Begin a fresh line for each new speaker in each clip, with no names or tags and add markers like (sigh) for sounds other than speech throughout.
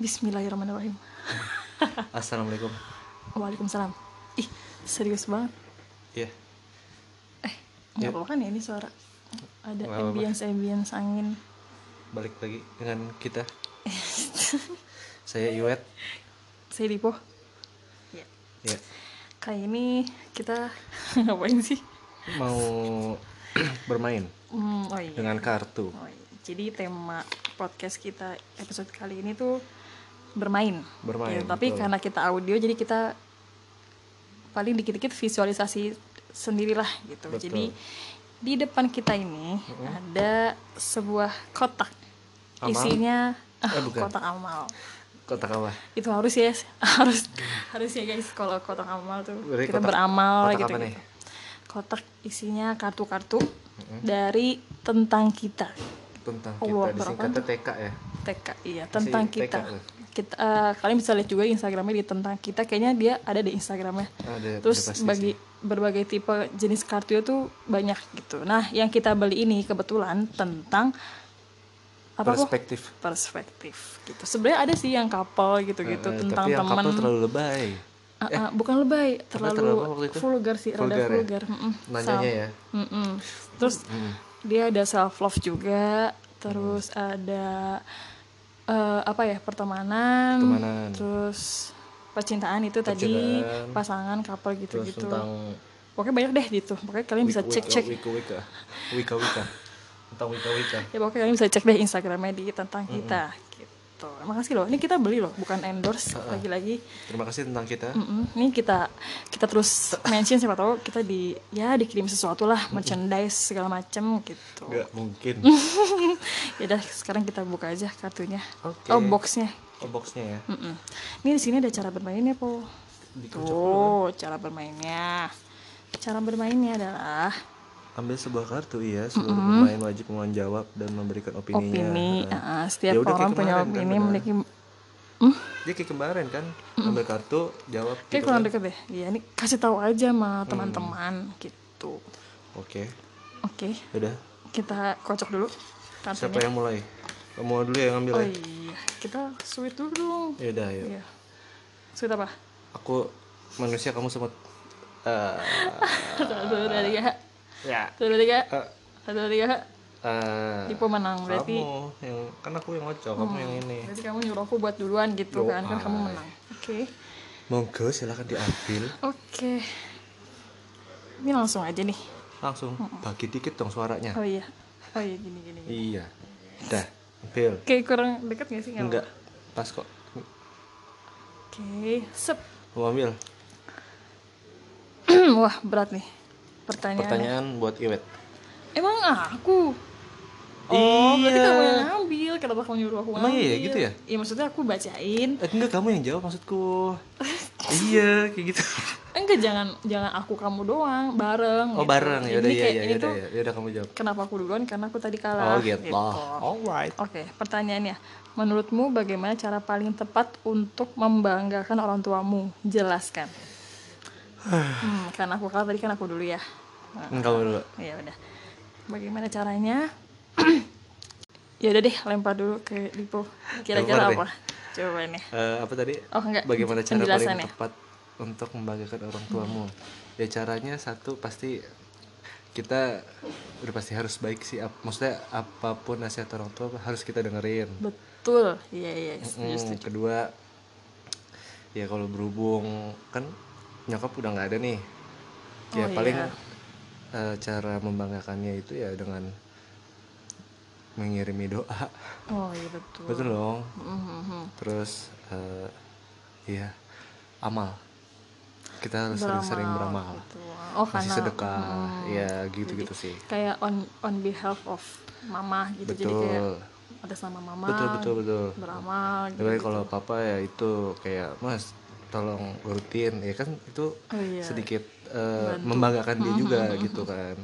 Bismillahirrahmanirrahim.
Assalamualaikum.
Waalaikumsalam. Ih, serius banget.
Iya.
Enggak
Ya.
apa-apa kan ya ini suara. Ada
Nggak apa-apa.
ambience ambience angin.
Balik lagi dengan kita.
(laughs)
Saya Iwet.
Saya Dipo. Ya.
Ya.
Kali ini kita (laughs) ngapain sih?
Mau (clears throat) bermain
Hmm, oh iya.
dengan kartu.
Oh iya. Jadi tema podcast kita episode kali ini tuh bermain. Ya,
Bermain,
tapi
betul.
karena kita audio jadi kita paling dikit-dikit visualisasi sendirilah gitu.
Betul.
Jadi di depan kita ini ada sebuah kotak.
Amal?
Isinya (laughs)
Eh, bukan.
kotak amal.
Kotak apa?
Itu harus ya, (laughs) harus harus ya guys kalau kotak amal tuh
Berarti
kita
kotak-
beramal
kotak
gitu.
apa nih?
Kotak isinya kartu-kartu dari tentang kita.
Tentang
Allah,
kita disingkatnya TK ya.
TK iya tentang
TK
kita
loh.
kita eh, kalian bisa lihat juga instagramnya di tentang kita kayaknya dia ada di instagramnya
Ada-
terus
ada Oh, iya, pasti
bagi berbagai tipe jenis kartu itu banyak gitu nah yang kita beli ini kebetulan tentang apa kok?
Perspektif.
perspektif gitu sebenarnya ada sih yang couple gitu-gitu
Eh,
tentang
tapi yang
teman
couple terlalu lebay.
Ah, ah, bukan lebay terlalu,
terlalu apa waktu itu?
vulgar sih
Vulgar
rada
ya?
vulgar mm-mm.
Nanyanya
Sama.
ya.
Mm-mm. terus dia ada self love juga terus ada eh, apa ya pertemanan,
Pertemanan.
terus percintaan itu
Percintaan.
tadi pasangan couple
Terus
gitu-gitu
tentang
pokoknya banyak deh gitu pokoknya kalian Gitu. bisa
wika-
cek-cek
Wika wika. Wika wika. Tentang wika wika.
ya pokoknya kalian bisa cek deh instagramnya di tentang kita gitu makasih loh ini kita beli loh bukan endorse lagi-lagi
Terima kasih tentang kita.
Mm-mm. Ini kita kita terus mention siapa tahu kita di ya dikirim sesuatu lah merchandise segala macem gitu.
Enggak
(laughs)
mungkin.
Ya udah sekarang kita buka aja kartunya.
Oke.
Oh boxnya.
Oh, boxnya ya.
Mm-mm. Ini di sini ada cara bermainnya po.
Dikocok dulu.
Tuh cara bermainnya. Cara bermainnya adalah
Ambil sebuah kartu iya, seluruh pemain wajib menjawab dan memberikan opininya.
opini.
Nah.
Oh, Ah, setiap
Ya udah,
orang
kayak
punya
kemarin kan,
opini
benar.
memiliki.
Dia kayak kemarin kan ambil kartu jawab.
Kayak
gitu
kurang
kan. Hmm.
deket deh. Iya ini kasih tahu aja sama teman-teman gitu.
Oke,
Oke
udah.
kita kocok dulu
Siapa
kartunya.
yang mulai? Kamu dulu yang ambil
Oh
ya.
iya, kita sweet dulu dong.
Ya udah, yuk.
Iya. Sweet apa? (laughs)
Aku manusia kamu semut.
(laughs)
Eh,
Satu, dua, tiga.
ya.
Satu, dua, tiga.
Eh,
Satu, dua, tiga.
eh,
Dipo menang, berarti Mm.
kamu yang kan aku yang ngocok, kamu yang ini.
berarti kamu nyuruh aku buat duluan gitu
Yo,
kan, kan kamu
ay.
menang. Oke.
Monggo silahkan diambil.
Oke. Ini langsung aja nih.
Langsung bagi dikit dong suaranya.
Oh iya. Oh iya gini gini. gini.
Iya. Dah, ambil.
Oke, kurang deket gak sih? Nggak
Enggak,
apa-apa.
pas kok.
Oke, sep. (clears throat)
Mau ambil.
Wah, berat nih. Pertanyaan.
Pertanyaan buat Iwet.
Emang aku? Oh, berarti kamu yang ngambil. Kenapa kamu nyuruh aku ngambil?
Iya. Emang iya ya, gitu ya?
Iya, maksudnya aku bacain.
Eh, enggak kamu yang jawab
(laughs)
maksudku. iya, kayak gitu.
enggak jangan jangan aku kamu doang bareng
Oh,
gitu.
bareng ya udah
Jadi
iya
kayak
iya
ini
ya
tuh
udah ya udah kamu jawab.
kenapa aku duluan karena aku tadi kalah
Oh, gitu.
oke
Alright.
pertanyaannya menurutmu bagaimana cara paling tepat untuk membanggakan orang tuamu
(sighs)
jelaskan hmm, karena aku kalah tadi kan aku dulu ya Nah,
Hmm, Kamu dulu.
ya udah bagaimana caranya (clears throat) ya udah deh lempar dulu ke Dipo kira-kira apa
Lempar deh.
coba nih
Eh, apa tadi?
Oh, enggak.
Bagaimana cara paling
Penjelasannya.
tepat untuk membanggakan orang tuamu? Ya caranya satu pasti kita udah pasti harus baik sih. Ap- Maksudnya apapun nasihat orang tua harus kita dengerin.
betul iya iya setuju
Hmm,
setuju
kedua ya kalau berhubung kan nyokap udah nggak ada nih ya
Oh,
paling
iya.
eh, cara membanggakannya itu ya dengan mengirimi doa
oh iya betul
betul dong
Mhm.
terus eh, ya amal kita harus sering-sering beramal
gitu. Oh
masih
karena
sedekah ya gitu-gitu sih
kayak on on behalf of mama gitu jadi kayak
betul
ada sama mama
betul betul betul
beramal gitu.
Tapi kalau papa ya itu kayak mas tolong urutin ya kan itu
Oh, iya.
sedikit eh, membanggakan dia juga gitu kan.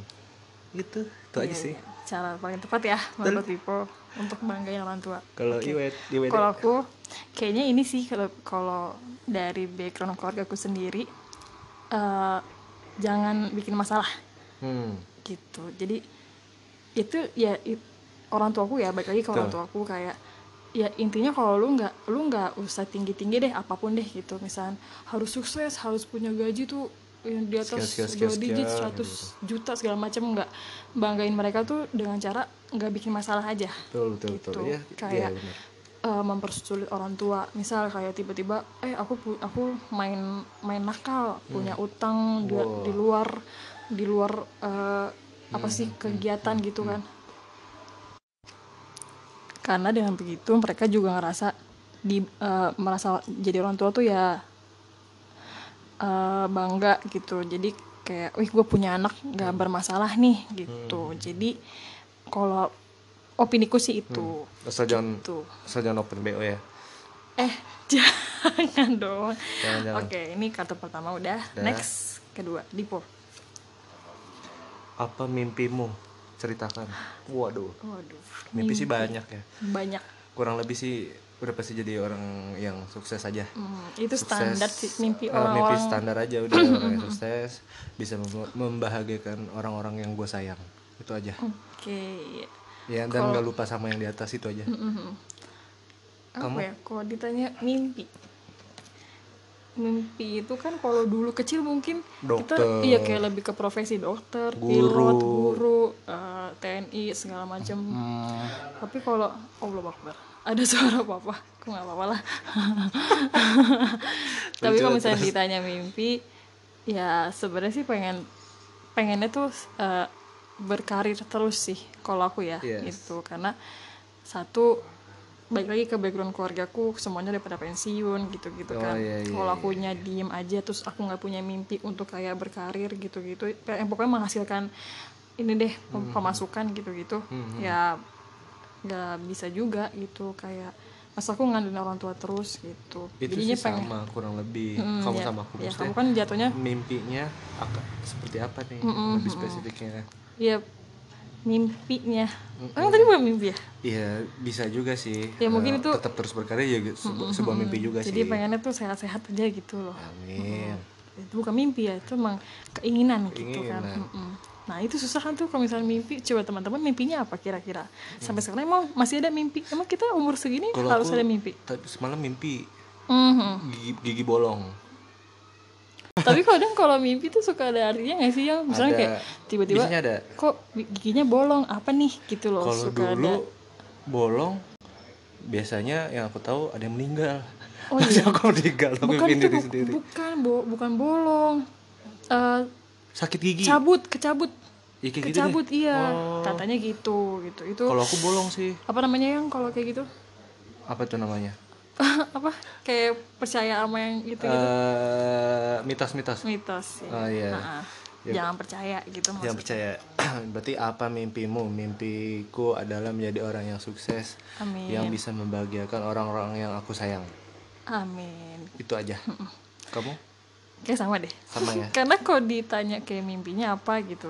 Gitu, itu aja
Iya,
sih.
iya. Cara paling tepat ya menurut Dipo untuk banggain orang tua.
Kalau
Oke.
Iwet, Iwet. ya?
Kalau aku kayaknya ini sih kalau kalau dari background keluargaku sendiri eh, jangan bikin masalah.
Hmm.
gitu jadi itu ya it- orang tuaku ya balik lagi ke orang
Betul.
tuaku kayak ya intinya kalau lu nggak lu nggak usah tinggi tinggi deh apapun deh gitu misalnya harus sukses harus punya gaji tuh yang di atas
Sekian, sekian,
dua
sekian,
digit
sekian, gitu.
100 juta segala macam nggak banggain mereka tuh dengan cara nggak bikin masalah aja
betul betul betul
gitu.
ya iya
Kayak-
benar
eh, mempersulit orang tua misal kayak tiba-tiba eh aku pu- aku main main nakal
Hmm.
punya utang di,
Wow.
di luar di luar eh, apa
Hmm,
sih kegiatan gitu kan karena dengan begitu mereka juga ngerasa di eh, merasa jadi orang tua tuh ya eh, bangga gitu jadi kayak wih gue punya anak
Hmm.
nggak bermasalah nih gitu jadi kalau opiniku sih
Hmm.
itu Gitu.
asal jangan
tuh
asal jangan open bo ya
Eh, (laughs) jangan dong.
Jangan, jangan.
Oke, ini kartu pertama udah.
Udah.
Next, kedua, Dipo.
apa mimpimu ceritakan waduh
Waduh,
mimpi sih banyak ya
banyak.
kurang lebih sih udah pasti jadi orang yang sukses aja
Hmm, itu
Sukses,
standar sih mimpi
eh, mimpi
orang-orang.
standar aja udah
(clears throat)
orang yang sukses bisa mem- membahagiakan orang-orang yang gue sayang itu aja
Oke.
ya dan nggak lupa sama yang di atas itu aja
Mhm. Apa
Kamu?
ya? Kalau ditanya mimpi. Mimpi itu kan kalau dulu kecil mungkin
Dokter.
kita iya kayak lebih ke profesi dokter,
Guru.
pilot, guru, eh, TNI segala macam.
Hmm,
tapi kalau Allah Akbar ada suara papa aku nggak apa-apa
(laughs)
lah tapi kalau misalnya ditanya mimpi ya sebenarnya sih pengen pengennya tuh eh, berkarir terus sih kalau aku ya
Yes.
(laughs) gitu karena satu baik lagi ke background keluargaku semuanya udah pada pensiun gitu-gitu
Oh,
kan
iya, iya,
kalau akunya diem aja terus aku nggak punya mimpi untuk kayak berkarir gitu-gitu eh, pokoknya menghasilkan ini deh
Hmm,
pem- pemasukan gitu-gitu ya nggak bisa juga gitu kayak masa aku ngandelin orang tua terus gitu
itu
jadinya
sih
pengen
sama kurang lebih
Mm,
kamu
ya,
sama aku
ya,
maksudnya Hmm.
kamu kan jatuhnya
mimpinya ak- seperti apa nih lebih spesifiknya
ya mimpinya
Hmm,
emang tadi bukan mimpi ya
Iya bisa juga sih
Ya, mungkin
Eh,
itu-
tetap terus berkarya ya sebu- sebuah, mimpi juga
jadi
sih
pengennya tuh sehat-sehat aja gitu loh
amin
itu bukan mimpi ya itu emang keinginan, gitu kan
Keinginan.
Mm-mm. nah itu susah kan tuh kalau misalnya mimpi coba teman-teman mimpinya apa kira-kira sampai sekarang emang masih ada mimpi emang kita umur segini
Kalau
harus
aku-
ada mimpi
tapi semalam mimpi
Mhm.
gigi, gigi bolong
tapi kadang kalau mimpi tuh suka ada artinya nggak sih yang misalnya
Ada.
kayak tiba-tiba
biasanya ada
kok giginya bolong apa nih gitu loh
kalau
suka ada
dulu bolong biasanya yang aku tahu ada yang meninggal
Oh,
(laughs) Pasti aku meninggal aku
bukan
mimpiin
itu
diri
bu-
sendiri
bukan bo- bukan bolong Eh,
sakit gigi
cabut kecabut
Ya, kayak gitu deh.
kecabut iya
Oh.
katanya gitu gitu itu
kalau aku bolong sih
apa namanya yang kalau kayak gitu
apa tuh namanya
(laughs) apa kayak percaya sama yang gitu gitu
Eh, mitos-mitos
mitos ya.
Oh, iya.
Nah, jangan percaya gitu
yang
maksudnya
percaya (clears throat) berarti apa mimpimu mimpiku adalah menjadi orang yang sukses
amin
yang bisa membahagiakan orang-orang yang aku sayang
amin
itu aja
Hmm.
kamu
kayak sama deh
Sama ya?
(laughs) karena kalau ditanya kayak mimpinya apa gitu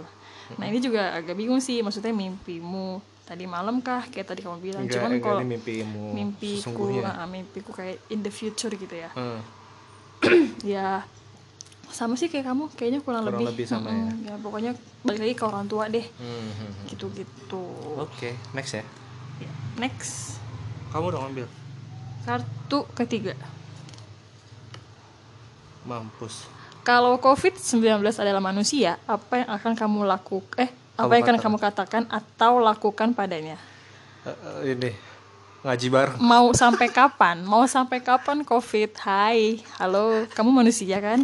nah ini juga agak bingung sih maksudnya mimpimu tadi malam kah kayak tadi kamu bilang Iya,
enggak
cuman
enggak
kalau
ini mimpimu
mimpiku
sesungguhnya
ah, mimpiku kayak in the future gitu ya
Hmm,
ya sama sih kayak kamu kayaknya kurang,
Kurang lebih sama
ya
ya.
pokoknya balik lagi ke orang tua deh
hmm, hmm, hmm.
gitu gitu
oke next ya
next
kamu dong ambil
kartu ketiga
mampus
Kalau COVID-19 adalah manusia, apa yang akan kamu lakukan? Eh, apa
Kamu
yang akan
katakan.
kamu katakan atau lakukan padanya?
Eh, eh, ini ngaji bareng
Mau sampai kapan? Mau sampai kapan COVID? Hai, halo, kamu manusia kan?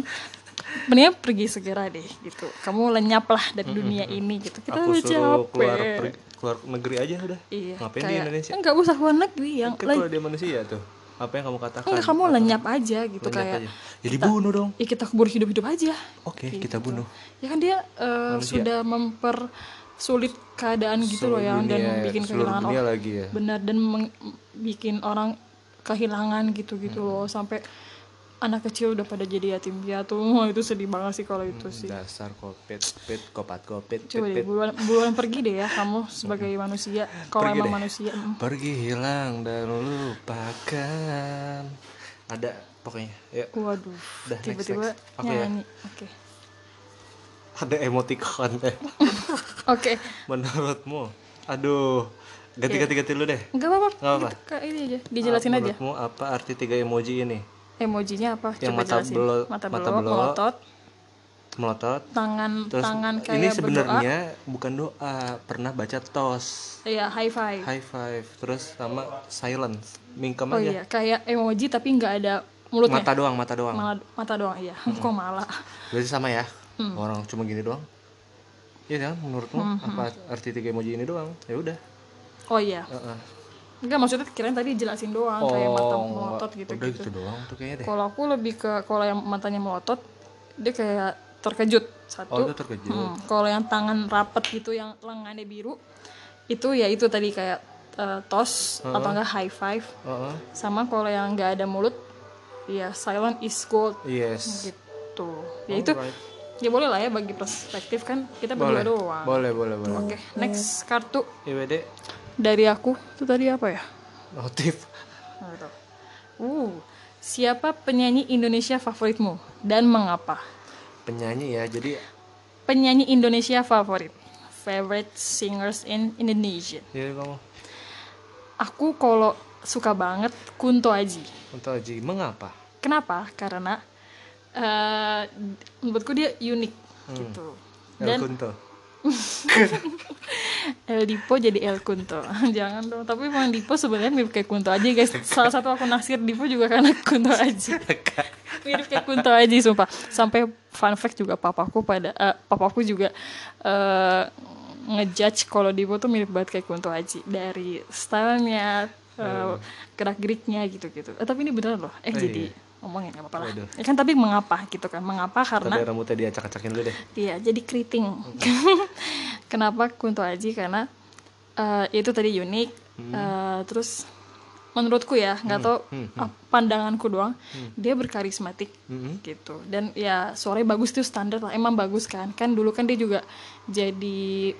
Mendingan pergi segera deh, gitu. Kamu lenyap lah dari dunia ini, gitu. Kita
aku
udah
suruh
capek.
keluar per- keluar negeri aja udah
Iya,
ngapain di
kayak,
Indonesia
Enggak usah luar negeri yang
kan
len-
kalau dia manusia tuh apa yang kamu katakan
enggak kamu lenyap aja gitu
kan, Lenyap
kayak
aja. ya dibunuh dong
ya kita kebur hidup-hidup aja
oke kita bunuh
ya kan dia eh,
Manusia.
sudah mempersulit keadaan gitu loh
Seluruh
yang dan
dunia- ya,
bikin
seluruh
kehilangan
dunia
orang
lagi ya
benar dan meng- bikin orang kehilangan gitu gitu
Hmm.
loh sampai anak kecil udah pada jadi yatim piatu Wah, itu sedih banget sih kalau itu
Hmm,
sih
dasar kopet pet kopat kopet pet,
coba deh
pet.
buruan, buruan pergi deh ya kamu sebagai manusia
(laughs)
kalau
Hmm. Pergi
emang
deh.
manusia mm.
pergi hilang dan lupakan ada pokoknya ya
waduh
Dah, next,
tiba-tiba
next. Aku ya.
nyanyi oke
ada emoticon
oke
menurutmu aduh ganti ganti ganti lu deh
Enggak apa-apa.
Nggak apa-apa.
Gitu, kayak ini aja. Dijelasin
Ah,
aja.
menurutmu apa arti tiga emoji ini
Emojinya apa?
Yang
Coba
mata
jelasin.
belo-
mata
mata
belok,
belok.
melotot,
melotot
tangan
terus
tangan kayak
ini
berdoa.
sebenarnya bukan doa pernah baca tos
Iya, high five.
high five terus sama silence mingkem
oh
aja
iya, kayak emoji tapi nggak ada mulutnya.
mata doang mata doang
Malah mata doang iya. Kok malah.
berarti sama ya
Hmm.
orang cuma gini doang Iya kan menurutmu apa
hmm.
arti tiga emoji ini doang ya udah
Oh iya.
Heeh.
Enggak maksudnya kirain tadi jelasin doang kayak ya, mata melotot
Oh, udah
gitu-gitu.
gitu doang tuh kayaknya deh
Kalau aku lebih ke kalau yang matanya melotot, dia kayak terkejut
oh itu
satu.
terkejut
Hmm, kalau yang tangan rapet gitu yang lengannya biru, itu ya itu tadi kayak eh, tos atau enggak high five.
Heeh.
Sama kalau yang nggak ada mulut, ya silent is gold
yes
gitu. Ya itu
Alright.
ya boleh lah ya bagi perspektif kan kita
boleh
berdua doang.
boleh boleh boleh
Oke, next kartu
IWD
dari aku itu tadi apa ya?
notif
Nggak tahu. Uh, siapa penyanyi Indonesia favoritmu dan mengapa?
penyanyi ya jadi
Penyanyi Indonesia favorit. Favorite singers in Indonesia.
ya kamu
Aku kalau suka banget Kunto Aji.
untuk Aji mengapa
Kenapa? Karena eh, menurutku dia unik
Hmm.
gitu.
El
Dan
Kunto
El Dipo jadi El Kunto. (laughs) Jangan dong. Tapi emang Dipo sebenarnya mirip kayak Kunto Aji guys. Salah satu aku naksir Dipo juga karena (laughs) Kunto Aji. mirip kayak Kunto Aji sumpah. Sampai fun fact juga papaku pada eh, papaku juga eh, ngejudge kalau Dipo tuh mirip banget kayak Kunto Aji dari stylenya, eh, gerak geriknya gitu gitu. Eh, tapi ini beneran loh. Eh
Hmm. Oh,
jadi
iya.
ngomongin nggak apa-apa lah.
Waduh.
Ya kan tapi mengapa gitu kan? Mengapa karena
tapi rambutnya diacak-acakin dulu deh
Iya, jadi keriting. (laughs) Kenapa Kunto Aji? Karena eh, itu tadi unik. Eh, terus menurutku ya, nggak tahu ah, pandanganku doang, dia berkarismatik
Mm-mm.
gitu. Dan ya suaranya bagus tuh standar lah. Emang bagus kan? Kan dulu kan dia juga jadi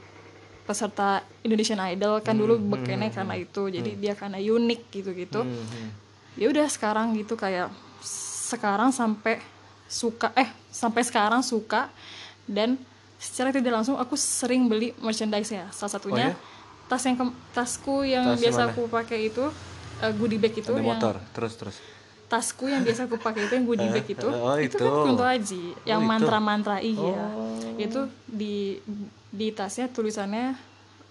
peserta Indonesian Idol kan dulu bekennya karena itu. Jadi dia karena unik gitu-gitu
Mhm.
ya udah sekarang gitu kayak sekarang sampai suka eh sampai sekarang suka dan secara tidak langsung aku sering beli merchandise ya salah satunya
Oh ya?
tas yang ke- tasku yang
Tas yang
biasa
mana?
aku pakai itu eh, goodie bag itu
ada
yang
motor terus terus
tasku yang biasa aku pakai itu yang goodie bag itu
(laughs) oh,
itu
itu. Oh,
kan Kunto Aji yang
itu. Oh.
mantra-mantra iya itu di di tasnya tulisannya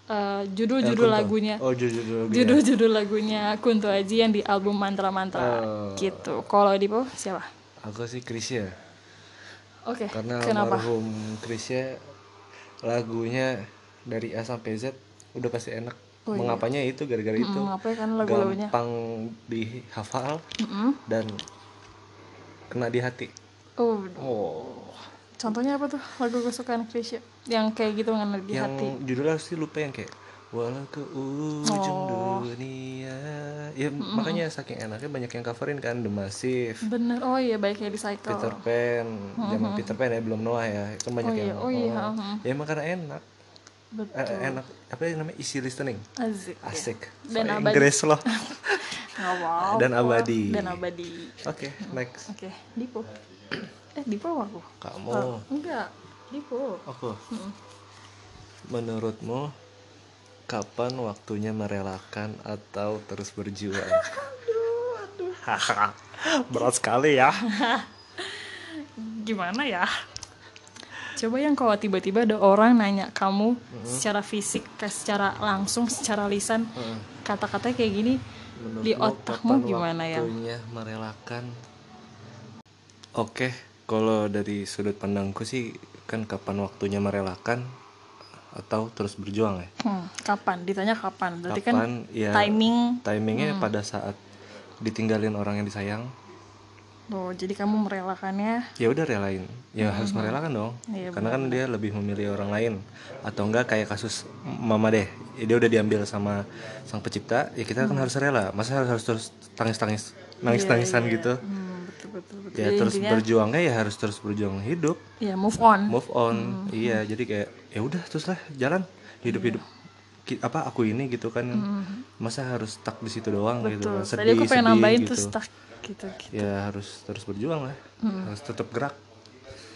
eh,
El
judul-judul
Kunto.
lagunya
oh judul judul
judul-judul lagunya Kunto Aji yang di album Mantra Mantra
Oh.
gitu. Kalau Dipo siapa?
aku sih Krisya
Oke.
karena
Eh, Kenapa?
almarhum Krisya lagunya dari A sampai Z udah pasti enak
Oh,
mengapanya itu gara-gara itu
Mm, apa ya kan iya. Hmm. lagu-lagunya?
gampang dihafal
Mm-mm.
dan kena di hati
Oh,
oh
contohnya apa tuh lagu kesukaan Krisya yang kayak gitu ngena di
yang
hati?
judulnya sih lupa yang kayak walau ke ujung
Oh.
dunia ya makanya saking enaknya banyak yang coverin kan The Massive
Bener. Oh iya baiknya recycle.
Peter Pan zaman Peter Pan ya belum Noah ya kan banyak
iya,
yang
oh iya,
ya emang karena enak
Betul.
Eh, enak apa yang namanya easy listening
Azik. ya.
asik
Dan
Soal
abadi.
Inggris
(laughs)
loh
Nggak apa-apa.
Dan abadi.
Dan abadi.
oke next
Oke, Dipo. Eh, Dipo apa aku. Oh.
kamu
Enggak. Dipo.
aku menurutmu kapan waktunya merelakan atau terus
(laughs)
berjuang Hahaha, (laughs) berat sekali ya
gimana ya? Coba yang kalau tiba-tiba ada orang nanya kamu
Mm-hmm.
secara fisik, ke- secara langsung, secara lisan, kata-katanya kayak gini di
Mm-hmm. Menurut lo
otakmu
kapan
gimana ya?
waktunya merelakan oke kalau dari sudut pandangku sih kan kapan waktunya merelakan atau terus berjuang ya
Hmm, kapan? Ditanya kapan? Berarti
kapan
kan
ya
timing.
timingnya pada saat ditinggalin orang yang disayang
Tuh, jadi kamu merelakannya.
ya udah relain ya harus merelakan dong
Hmm. Iya,
karena kan dia lebih memilih orang lain atau enggak kayak kasus mama deh Ya, dia udah diambil sama sang pencipta ya kita
Hmm.
kan harus rela masa harus harus terus tangis tangis nangis tangisan gitu
Hmm, betul betul betul.
ya
Jadi
terus
intinya,
berjuangnya ya harus terus berjuang hidup
ya move on.
move
Hmm,
on iya jadi kayak ya udah terus lah jalan hidup hidup Ki- apa aku ini gitu kan masa harus stuck di situ doang gitu
Hmm, betul.
kan
Tadi aku pengen nambahin
gitu.
tuh stuck Hmm. gitu. gitu.
ya harus terus berjuang lah harus tetap gerak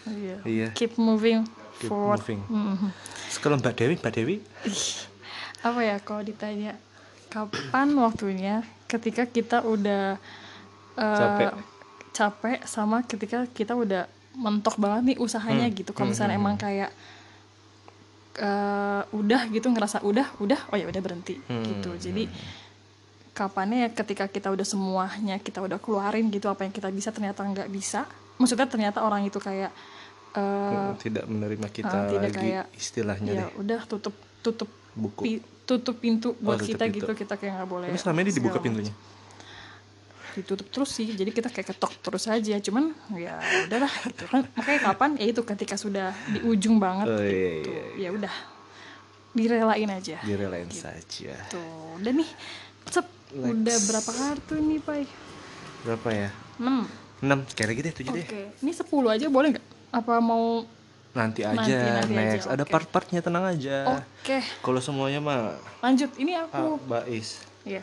Iya.
Iya.
Keep moving
keep
forward.
moving
Mhm. Eh,
Terus kalau Mbak Dewi, Mbak Dewi
Ih, apa ya kalau ditanya kapan waktunya ketika kita udah eh,
Capek.
capek sama ketika kita udah mentok banget nih usahanya
Hmm.
gitu kalau
Hmm,
misalnya
hmm,
emang kayak eh, udah gitu ngerasa udah udah oh ya udah berhenti
Hmm,
gitu jadi kapannya ya ketika kita udah semuanya kita udah keluarin gitu apa yang kita bisa ternyata nggak bisa maksudnya ternyata orang itu kayak eh,
Hmm, tidak menerima kita
ah, tidak
lagi
kayak-
istilahnya
ya
deh
udah tutup tutup
buku
pi- tutup pintu
Oh,
buat
tutup
kita
pintu.
gitu kita kayak nggak boleh
tapi selama ini dibuka
segala
pintunya
ditutup terus sih jadi kita kayak ketok terus aja cuman ya udahlah gitu kan makanya kapan ya itu ketika sudah di ujung banget
Oh, iya,
gitu
iya,
ya udah direlain aja
direlain
Gitu.
saja
tuh dan nih cep
Lex.
udah berapa kartu nih pai
berapa ya
6
enam sekali lagi deh tujuh
oke
Iya deh
ini 10 aja boleh nggak apa mau
nanti aja
Nanti- nanti aja,
next ada
oke. Oh.
part-partnya tenang aja
oke
kalau semuanya mah
lanjut ini
Eh. ah,
aku
bais
Iya.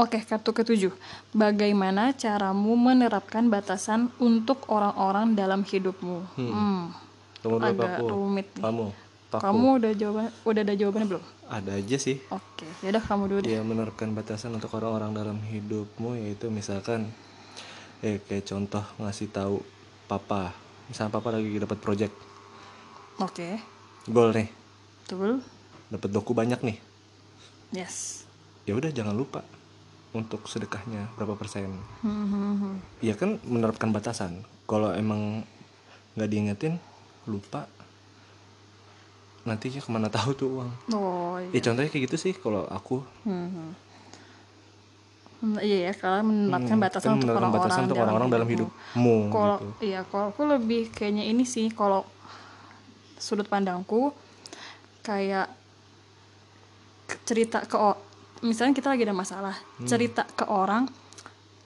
Oke, kartu ketujuh. Bagaimana caramu menerapkan batasan untuk orang-orang dalam hidupmu?
Hmm.
Hmm.
tunggu dulu
Agak
paku
rumit nih.
kamu paku
Kamu udah jawaban udah ada jawabannya belum?
ada aja sih
Oke, yaudah kamu dulu deh.
ya menerapkan batasan untuk orang-orang dalam hidupmu yaitu misalkan eh kayak contoh ngasih tahu papa misalnya papa lagi dapat project
Oke.
goal nih
Betul.
dapat doku banyak nih
Yes.
ya udah jangan lupa untuk sedekahnya berapa persen
Hmm, hmm, hmm.
ya kan menerapkan batasan kalau emang nggak diingetin lupa nantinya kemana tahu tuh uang
Oh,
ya
iya.
contohnya kayak gitu sih kalau aku
Hmm, hmm. Hmm, iya ya, kalau menerapkan
Hmm,
batasan
kan
untuk
menerapkan
orang-orang
batasan untuk orang-orang dalam hidupmu
kalau
gitu.
iya kalau aku lebih kayaknya ini sih kalau sudut pandangku kayak ke- cerita ke o- misalnya kita lagi ada masalah
Hmm.
cerita ke orang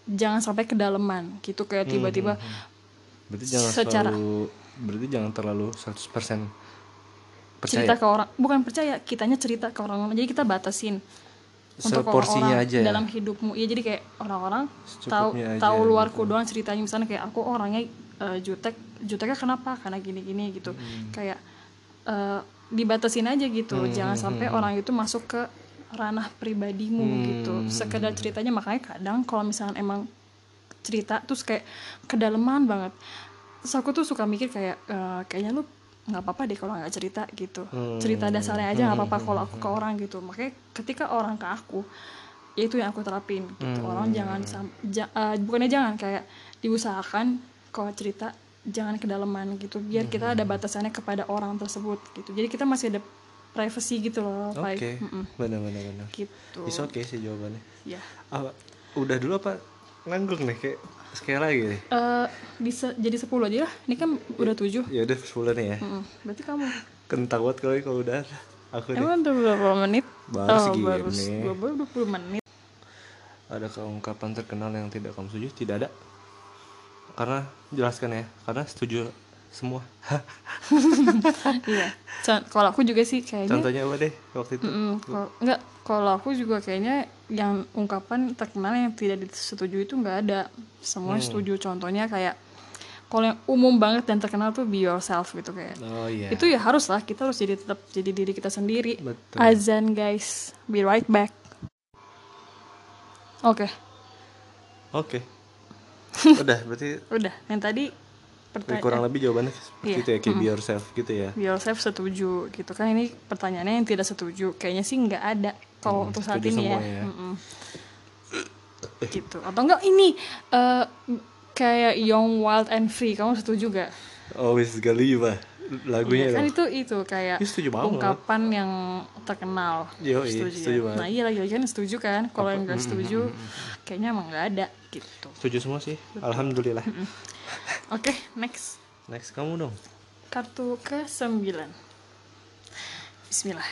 jangan sampai kedalaman gitu kayak
Hmm,
tiba-tiba
berarti jangan
Secara-
selalu berarti jangan terlalu 100% hmm. percaya
cerita ke orang bukan percaya kitanya cerita ke orang jadi kita batasin untuk
seporsinya
orang
aja ya
dalam hidupmu ya jadi kayak orang-orang tahu
Secukupnya aja
tahu luarku
gitu.
doang ceritanya misalnya kayak aku orangnya eh, jutek juteknya kenapa karena gini-gini gitu
Hmm.
kayak eh, dibatasin aja gitu
hmm,
jangan sampai orang itu masuk ke ranah pribadimu
Hmm,
gitu sekedar ceritanya makanya kadang kalau misalnya emang cerita terus kayak kedalaman banget terus aku tuh suka mikir kayak eh, kayaknya lu nggak apa-apa deh kalau nggak cerita gitu cerita dasarnya aja nggak apa-apa kalau aku ke orang gitu makanya ketika orang ke aku ya itu yang aku terapin gitu orang jangan sam- ja- eh, bukannya jangan kayak diusahakan kalau cerita jangan kedalaman gitu biar kita ada batasannya kepada orang tersebut gitu jadi kita masih ada privacy gitu loh
oke
Pak. Mm-mm.
benar benar benar
gitu
It's okay sih jawabannya
ya
Apa- udah dulu apa nganggung nih kayak sekali lagi nih
Eh, bisa jadi 10 aja lah ini kan udah 7
ya udah sebulan nih ya
Mm-mm. berarti kamu
kentang banget kalau kalau udah aku nih
emang udah berapa menit Oh,
Baru segini.
baru s- gua baru 20 menit
ada ungkapan terkenal yang tidak kamu setuju tidak ada karena jelaskan ya karena setuju semua (laughs)
iya Con- kalau aku juga sih kayaknya
contohnya apa deh waktu itu
Mm-mm. Kalau- enggak kalau aku juga kayaknya yang ungkapan terkenal yang tidak disetujui itu nggak ada semua
Hmm.
setuju contohnya kayak kalau yang umum banget dan terkenal tuh be yourself gitu kayak
oh iya
itu ya harus lah kita harus jadi tetap jadi diri kita sendiri
Betul.
azan guys be right back oke (laughs)
oke udah berarti
udah yang tadi
Ya, kurang
pertanyaan
lebih jawabannya seperti
Iya,
itu ya kayak be yourself gitu ya
be yourself setuju gitu kan ini pertanyaannya yang tidak setuju kayaknya sih nggak ada kalau untuk saat
Hmm, setuju
ini ya,
semua ya.
Mm-mm. gitu atau enggak ini eh, kayak young wild and free kamu setuju gak
always Galiba lagunya
kan
itu
itu itu kayak
Ini ya, setuju banget.
ungkapan yang terkenal
Yoi,
setuju,
setuju
ya?
banget.
nah iya lagi-lagi kan setuju kan kalau yang nggak setuju kayaknya emang nggak ada gitu
setuju semua sih alhamdulillah
oke next
next kamu dong
kartu ke sembilan Bismillah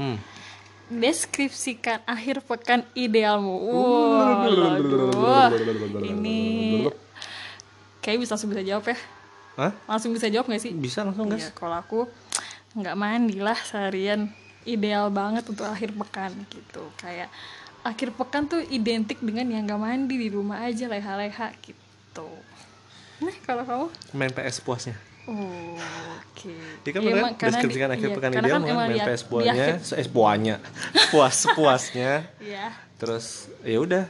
hmm.
deskripsikan akhir pekan idealmu wow aduh. ini kayak bisa langsung bisa jawab ya
Hah?
langsung bisa jawab nggak sih
bisa langsung
Iya,
guys
kalau aku nggak mandi lah seharian ideal banget untuk akhir pekan gitu kayak akhir pekan tuh identik dengan yang nggak mandi di rumah aja leha-leha gitu nah kalau kamu
main PS puasnya
Oh, oke.
Dia kan
Iya,
kemarin
emang karena di-
deskripsikan akhir
iya,
pekan
karena
ideal
kan
main,
emang
main
dia-
PS
di
buahnya,
akhir-
(laughs) eh buahnya, puas puasnya.
Iya.
Terus ya udah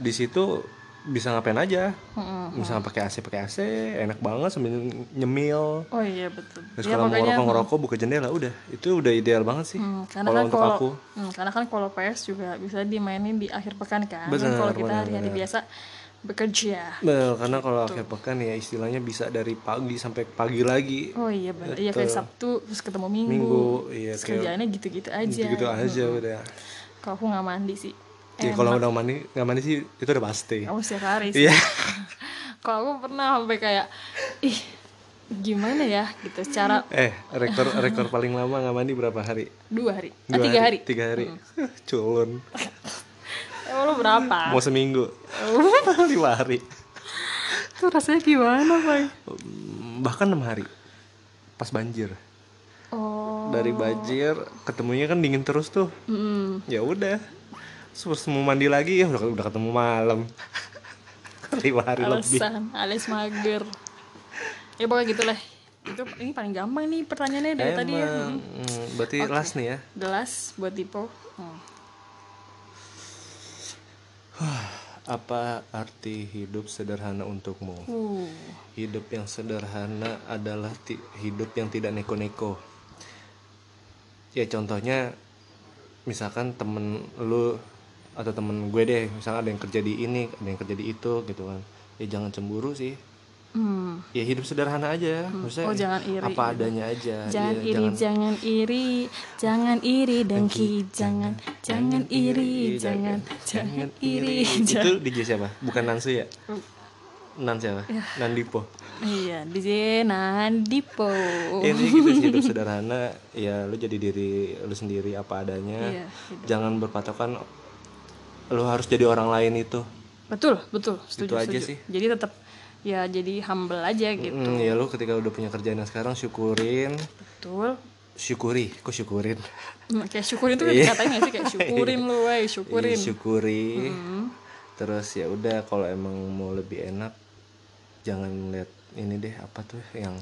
di situ bisa ngapain aja.
Mm-mm.
Bisa pakai AC pakai AC, enak banget sambil nyemil.
Oh iya betul.
Terus
Iya,
kalau mau
makanya-
ngerokok ngerokok buka jendela udah. Itu udah ideal banget sih.
Hmm, karena
kalau
kan
untuk
kalau
aku.
hmm, karena kan kalau PS juga bisa dimainin di akhir pekan kan.
Benar,
kalau kita
benar,
hari-hari
benar.
biasa bekerja.
Nah, karena kalau akhir pekan ya istilahnya bisa dari pagi sampai pagi lagi.
Oh iya benar. Iya kayak
Betul.
Sabtu terus ketemu Minggu.
Minggu, iya,
Terus
kayak-
kerjaannya gitu-gitu aja.
Gitu-gitu aja udah.
Kalau aku nggak mandi sih. Eh,
Ya, kalau udah mandi, nggak mandi sih itu udah pasti.
Kamu setiap hari sih.
Iya.
(laughs) kalau aku pernah sampai kayak ih gimana ya gitu cara
Eh, rekor rekor paling lama nggak mandi berapa hari?
dua hari, ah,
Dua
tiga hari. Hmm.
Tiga hari. (laughs) Culun.
Eh, lu berapa?
Mau
(laughs)
seminggu. Lima hari.
Itu rasanya gimana, Pak?
Mm, Bahkan enam hari. Pas banjir.
Oh,
Dari banjir ketemunya kan dingin terus tuh.
mm,
Ya udah. Terus mau mandi lagi ya udah udah ketemu malam. (laughs) Lima hari lebih.
alasan alias mager. Ya pokoknya gitu lah. Itu ini paling gampang nih pertanyaannya dari tadi ya.
Emang, mm, berarti last nih ya.
Gelas buat tipe. Hmm.
Apa arti hidup sederhana untukmu?
Uh,
Hidup yang sederhana adalah ti- hidup yang tidak neko-neko. Ya contohnya misalkan temen lu atau temen gue deh, misalkan ada yang kerja di ini, ada yang kerja di itu gitu kan. Ya jangan cemburu sih.
hmm.
Ya hidup sederhana aja, maksudnya
Oh, jangan iri
apa
gitu.
adanya aja.
Jangan
Iya,
iri, jangan iri, jangan iri dengki, jangan, jangan
iya,
iri, jangan, jangan iri,
Itu
jangan.
DJ siapa? Bukan Nansu ya?
Oh.
Nan siapa? Nandipo.
Iya, DJ Nandipo.
Ya, intinya gitu sih, hidup sederhana ya lu jadi diri lu sendiri apa adanya
Iya, hidup.
jangan berpatokan lu harus jadi orang lain itu
Betul, betul,
Itu
setuju,
aja
setuju.
sih.
Jadi tetap ya jadi humble aja gitu.
Mm, ya lu ketika udah punya kerjaan yang sekarang syukurin
Betul.
syukuri kok syukurin
Hmm, kayak syukurin tuh
Iya.
katanya nggak sih kayak syukurin lu, wey,
Iya,
syukurin. Hmm.
syukuri terus ya udah kalau emang mau lebih enak jangan lihat ini deh apa tuh yang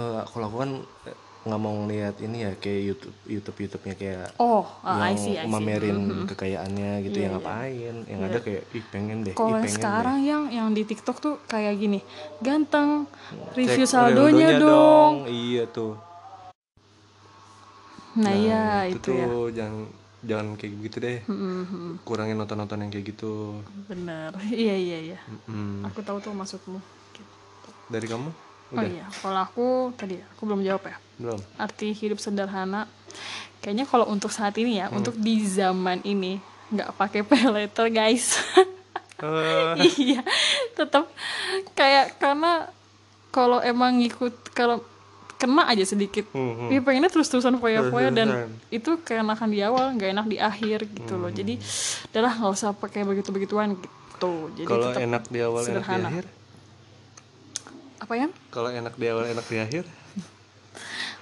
eh kalau aku kan eh, nggak mau ngeliat ini ya kayak YouTube YouTube YouTube-nya kayak
Oh, ah, I
yang
see, Mm-hmm. I see.
mamerin kekayaannya gitu yang ngapain yang ada kayak ih pengen deh
Iya. Kalau
ih
yang
pengen
sekarang yang yang di TikTok tuh kayak gini, ganteng,
deh.
review
Cek
saldonya
saldonya
dong.
iya tuh
Nah, iya itu,
itu, tuh
ya.
jangan jangan kayak gitu deh
Mm, mm,
kurangin nonton-nonton yang kayak gitu
Bener, (laughs) iya iya iya.
Mm.
Aku tahu tuh maksudmu. Gitu.
dari kamu
Oh
udah
iya, kalau aku tadi aku belum jawab ya. (laughs)
belum
Arti hidup sederhana, kayaknya kalau untuk saat ini ya,
Hmm.
untuk di zaman ini nggak pakai (laughs) pay later guys. (laughs)
Eh,
iya, tetap kayak karena kalau emang ngikut kalau kena aja sedikit
hmm, hmm.
Iya pengennya terus-terusan foya-foya dan
Terus-terusan. Hmm.
itu keenakan di awal, nggak enak di akhir gitu loh. Jadi, udahlah nggak usah pakai begitu-begituan gitu. Jadi
kalau
tetap
enak di awal
sederhana.
enak di akhir
apa ya?
kalau enak di awal enak di akhir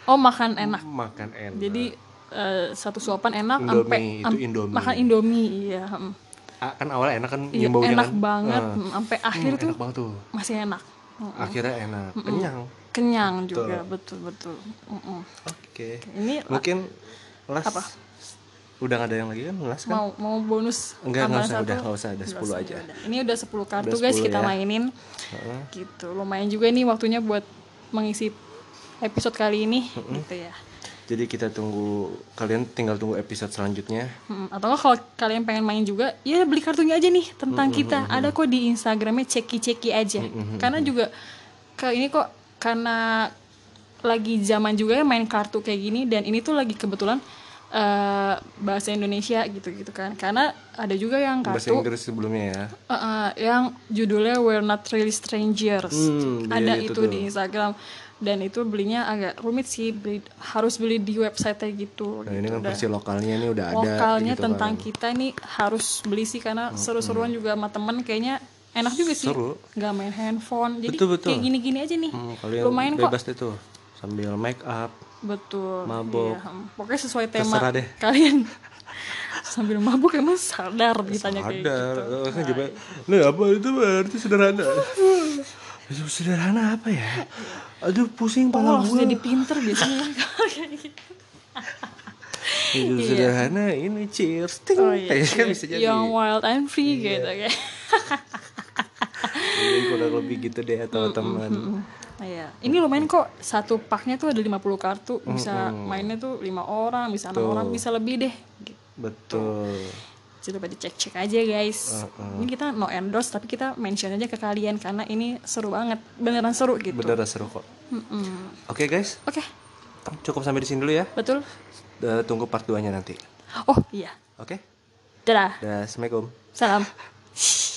Oh makan enak.
makan enak
Jadi eh, satu suapan enak,
Indomie,
sampai
itu
am-
Indomie.
makan Indomie, iya. mm.
Ah, kan awal enak kan
Iya,
nyimbaunya
enak
kan
banget,
Eh,
mm, sampai akhir
hmm,
tuh
enak banget tuh
masih enak, Mm,
akhirnya enak kenyang
kenyang juga, betul betul. Mm-mm.
Oke.
Ini
Mungkin last
Iya, Apa?
Udah nggak ada yang lagi kan last kan?
mau mau bonus tambahan
Enggak, nggak usah,
satu?
udah, nggak usah, ada
Nggak
10
usah,
aja.
udah. Ini udah 10 kartu
Udah
guys
10
kita
ya.
mainin.
Heeh.
gitu lumayan juga nih waktunya buat mengisi episode kali ini gitu ya
Jadi kita tunggu kalian tinggal tunggu episode selanjutnya.
Mm, atau nggak kalau kalian pengen main juga ya beli kartunya aja nih tentang kita ada kok di instagramnya ceki ceki aja karena juga ke ini kok karena lagi zaman juga ya main kartu kayak gini dan ini tuh lagi kebetulan eh, bahasa Indonesia gitu gitu kan karena ada juga yang
Bahasa
kartu
Inggris sebelumnya ya.
Eh, eh, yang judulnya We're Not Really Strangers.
Hmm,
Ada
iya, itu
itu,
tuh.
di Instagram dan itu belinya agak rumit sih, beli- harus beli di website gitu. gitu.
Nah, ini kan
Dan
versi lokalnya ini udah ada
Lokalnya
gitu
tentang
kan. Hmm.
kita nih harus beli sih karena seru-seruan juga sama temen kayaknya enak juga sih.
Seru.
Gak main handphone. Jadi
Betul, betul.
kayak gini-gini aja nih.
Hmm, kalian
Lumayan kok.
bebas deh tuh sambil make up.
Betul.
Mabok.
Iya, hmm. Pokoknya sesuai tema
Terserah deh.
kalian. (laughs) Sambil mabuk emang sadar ditanya kayak
(laughs) Sadar,
gitu.
kan coba. Lu apa itu berarti sederhana. Aduh, sederhana apa ya? Aduh,
Pokoknya
pusing pala
langsung
gue.
jadi pinter biasanya
Hidup
Iya.
sederhana ini cheers. Ting.
Oh,
(laughs)
iya,
Gitu. Kayaknya kan
iya.
bisa jadi. Iya.
Young wild and free gitu kayak.
Jadi kurang lebih gitu deh teman-teman.
Iya. Ini lumayan kok satu paknya tuh ada 50 kartu, bisa mainnya tuh lima orang, bisa enam
Tuh.
orang, bisa lebih deh. Gitu.
Betul.
Coba dicek-cek aja guys. Ini kita no endorse tapi kita mention aja ke kalian karena ini seru banget. Beneran seru gitu.
Bener seru kok.
Mm-mm.
Oke guys,
Oke,
cukup sampai di sini dulu ya.
betul.
Eh, Tunggu part 2-nya nanti.
Oh, iya.
Oke?
Dadah.
Dah, Assalamualaikum.
Salam.